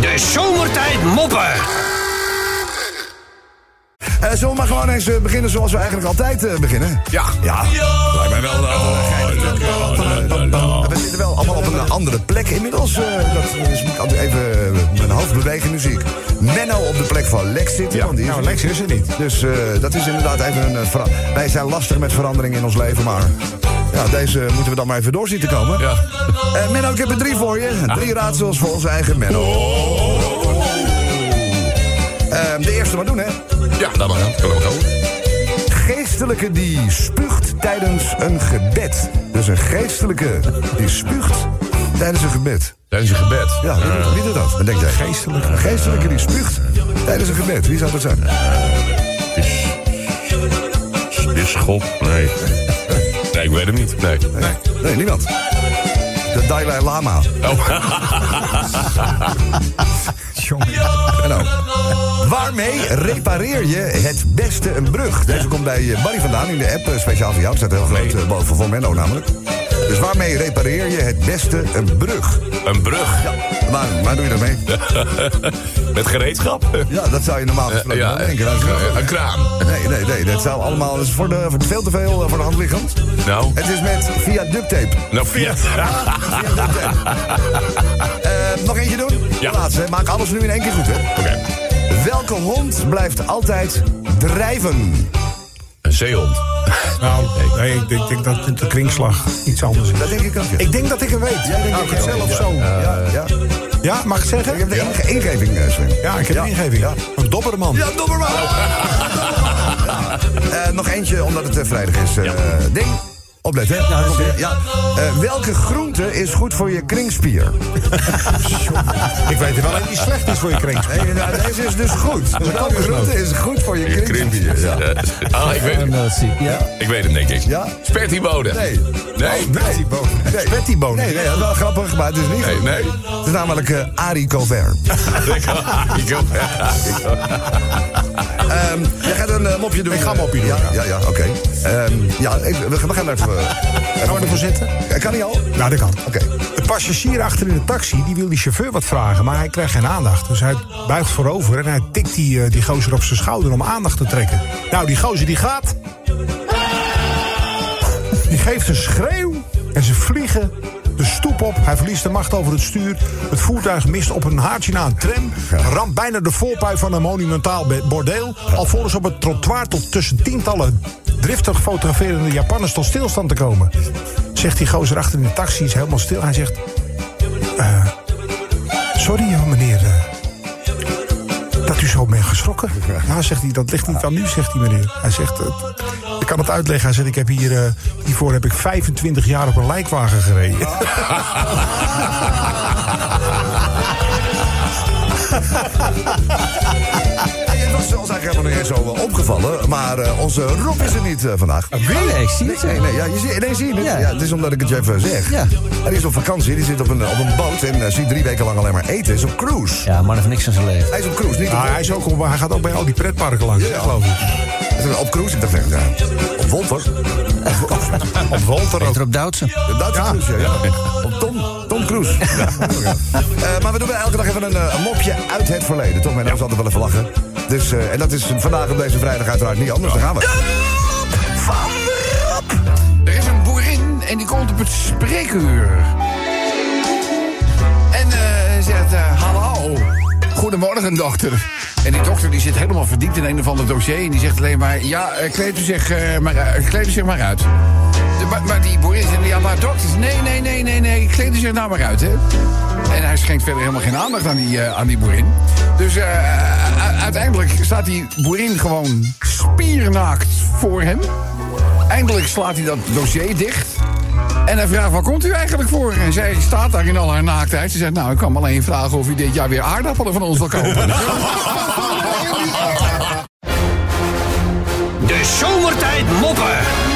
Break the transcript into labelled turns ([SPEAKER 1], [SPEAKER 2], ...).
[SPEAKER 1] De zomertijd moppen.
[SPEAKER 2] Eh, zullen we maar gewoon eens eh, beginnen zoals we eigenlijk altijd eh, beginnen?
[SPEAKER 3] Ja.
[SPEAKER 2] Ja.
[SPEAKER 3] Lijkt mij wel.
[SPEAKER 2] Eh, We zitten wel allemaal op een andere plek inmiddels. eh, dat is niet altijd even eh, mijn hoofd bewegen nu zie ik. Menno op de plek van Lex zitten.
[SPEAKER 3] Ja.
[SPEAKER 2] want die is
[SPEAKER 3] Nou,
[SPEAKER 2] er
[SPEAKER 3] Lex
[SPEAKER 2] niet.
[SPEAKER 3] is er niet.
[SPEAKER 2] Dus eh, dat is inderdaad even een... eh, vera- Wij zijn lastig met verandering in ons leven, maar... Ja, deze moeten we dan maar even door zien te komen.
[SPEAKER 3] Ja.
[SPEAKER 2] Eh, Menno, ik heb er drie voor je. Drie raadsels voor onze eigen Menno.
[SPEAKER 3] Oh.
[SPEAKER 2] Eh, de eerste maar doen, hè.
[SPEAKER 3] Ja, dat mag. Dat kan ook wel.
[SPEAKER 2] geestelijke die spuugt tijdens een gebed. Dus een geestelijke die spuugt tijdens een gebed.
[SPEAKER 3] Tijdens je gebed.
[SPEAKER 2] Ja, wie, doet- wie doet dat? Wat denk jij?
[SPEAKER 3] geestelijke.
[SPEAKER 2] Een geestelijke die spuugt tijdens een gebed. Wie zou dat zijn?
[SPEAKER 3] Bisschop? Nee. Nee, ik weet hem niet. Nee. nee.
[SPEAKER 2] Nee, niemand. De Dalai Lama.
[SPEAKER 3] Oh.
[SPEAKER 2] En nou, waarmee repareer je het beste een brug? Deze komt bij eh, Barry vandaan in de app, eh, speciaal voor jou. Het staat heel groot eh, boven voor Menno namelijk. Dus waarmee repareer je het beste een brug?
[SPEAKER 3] Een brug.
[SPEAKER 2] Waar, waar doe je dat mee?
[SPEAKER 3] Met gereedschap.
[SPEAKER 2] Ja, dat zou je normaal gesproken
[SPEAKER 3] Eh, ja,
[SPEAKER 2] wel denken. Dat is wel-
[SPEAKER 3] een kraan.
[SPEAKER 2] Nee, nee, nee. Dat zou allemaal dat is voor de, voor veel te veel eh, voor de hand liggend.
[SPEAKER 3] Nou.
[SPEAKER 2] Het is met via duct tape.
[SPEAKER 3] Nou, via.
[SPEAKER 2] Via duct tape. Eh, nog eentje doen?
[SPEAKER 3] Ja.
[SPEAKER 2] Laatste. hè. Maak alles nu in één keer goed, hè?
[SPEAKER 3] Oké.
[SPEAKER 2] Welke hond blijft altijd drijven?
[SPEAKER 3] Een zeehond.
[SPEAKER 4] Nou, nee, ik denk, denk dat het de kringslag iets anders is.
[SPEAKER 2] Dat denk ik ook, ja.
[SPEAKER 4] Ik denk dat ik hem weet.
[SPEAKER 2] Jij denkt
[SPEAKER 4] Nou,
[SPEAKER 2] ik
[SPEAKER 4] het
[SPEAKER 2] ook,
[SPEAKER 4] zelf
[SPEAKER 2] ja.
[SPEAKER 4] zo.
[SPEAKER 2] Ja, ja.
[SPEAKER 4] Ja, mag ik het
[SPEAKER 2] Ik heb
[SPEAKER 4] zeggen?
[SPEAKER 2] de enige ingeving, eh, Sven.
[SPEAKER 4] Ja, ik heb een ingeving.
[SPEAKER 2] Ja.
[SPEAKER 4] Een dobberman.
[SPEAKER 2] Ja, dobberman. Oh. Eh, nog eentje, omdat het eh, vrijdag is. eh, Ding, oplet, hè? Ja, ja. Eh, welke groente is goed voor je kringspier?
[SPEAKER 4] Ik weet er wel een die slecht is voor je kringslag.
[SPEAKER 2] Nee, nou, deze is dus goed. Welke groente is goed voor je kringspier?
[SPEAKER 3] Krimpjes.
[SPEAKER 2] Ja.
[SPEAKER 3] Ah, ik weet het. Ik weet het, denk ik.
[SPEAKER 2] Ja?
[SPEAKER 3] Spertibode.
[SPEAKER 2] Nee.
[SPEAKER 3] Nee.
[SPEAKER 2] Spettiebonen. Nee.
[SPEAKER 4] Spettiebonen.
[SPEAKER 2] Nee, nee, dat is wel grappig, maar het is niet
[SPEAKER 3] Nee,
[SPEAKER 2] goed.
[SPEAKER 3] nee.
[SPEAKER 2] Het is namelijk eh Arie Covert.
[SPEAKER 3] Ik ook.
[SPEAKER 2] Ehm, jij gaat een eh, mopje doen.
[SPEAKER 4] Ik ga een mopje doen,
[SPEAKER 2] Ja,
[SPEAKER 4] ja.
[SPEAKER 2] ja, ja, oké. Ehm, ja, even- we, gaan- we gaan even...
[SPEAKER 4] Gaan we ervoor zitten?
[SPEAKER 2] eh, kan hij al? Oké.
[SPEAKER 4] Nou, dat kan. De passagier achter in de taxi die wil die chauffeur wat vragen, maar hij krijgt geen aandacht. Dus hij buigt voorover en hij tikt die, eh, die gozer op zijn schouder om aandacht te trekken. Nou, die gozer die gaat. Die geeft een schreeuw en ze vliegen de stoep op. Hij verliest de macht over het stuur. Het voertuig mist op een haartje na een tram. Ramt bijna de voorpui van een monumentaal be- bordeel. Alvorens op het trottoir tot tussen tientallen driftig fotograferende Japanners tot stilstand te komen. Zegt die gozer achter in de taxi, is helemaal stil. Hij zegt... "Eh, sorry eh, meneer... eh, dat u zo bent geschrokken. Nou, zegt hij, dat ligt niet aan nu, zegt hij meneer. Hij zegt, eh, ik kan het uitleggen. Hij zegt, ik heb hier, eh, hiervoor heb ik 25 jaar op een lijkwagen gereden.
[SPEAKER 2] Hey, het was ons eigenlijk helemaal niet eens zo eh, opgevallen, maar eh, onze Rob is er niet eh, vandaag.
[SPEAKER 4] Ah,
[SPEAKER 5] Nee, ik zie het zo.
[SPEAKER 2] Nee, nee, ja, je zie, nee, zie je het? Ja.
[SPEAKER 5] Ja.
[SPEAKER 2] het is omdat ik het je even zeg.
[SPEAKER 5] Ja.
[SPEAKER 2] Hij is op vakantie, die zit op een, op een boot en eh, ziet drie weken lang alleen maar eten. Hij is op cruise.
[SPEAKER 5] Ja, man heeft niks aan zijn leven.
[SPEAKER 2] Hij is op cruise, niet op,
[SPEAKER 4] Ja, Ah, Nou, hij, is ook, op- hij gaat ook bij al die pretparken langs, hè,
[SPEAKER 2] Ja.
[SPEAKER 4] geloof ik.
[SPEAKER 2] op cruise. Ik dacht echt, ja, op Wolter.
[SPEAKER 4] Op Walter ook.
[SPEAKER 5] Peter op Doutsen.
[SPEAKER 2] Dat is cruise, ja. ja. Op Tom, Tom Cruise. Eh, maar we doen wel elke dag even een, eh, een mopje uit het verleden. Toch, mijn naam is altijd wel even lachen. Dus, eh, en dat is vandaag op deze vrijdag uiteraard niet anders. Daar gaan we.
[SPEAKER 6] Er is een boerin en die komt op het spreekuur. En eh, zegt, eh, hallo. Goedemorgen, dokter. En die dokter die zit helemaal verdiept in een of ander dossier... en die zegt alleen maar, ja, eh, kleed u zich, eh, maar, eh, kleed u zich maar uit. De- maar, maar die boerin zegt, ja, maar dokters, nee, nee, nee, nee, nee, kleed u zich nou maar uit, hè. En hij schenkt verder helemaal geen aandacht aan die, eh, aan die boerin. Dus eh, u- uiteindelijk staat die boerin gewoon spiernaakt voor hem... Eindelijk slaat hij dat dossier dicht. En hij vraagt, waar komt u eigenlijk voor? En zij staat daar in al haar naaktheid. Ze zegt, nou, ik kan me alleen vragen of u dit jaar weer aardappelen van ons wil kopen.
[SPEAKER 1] De zomertijd moppen.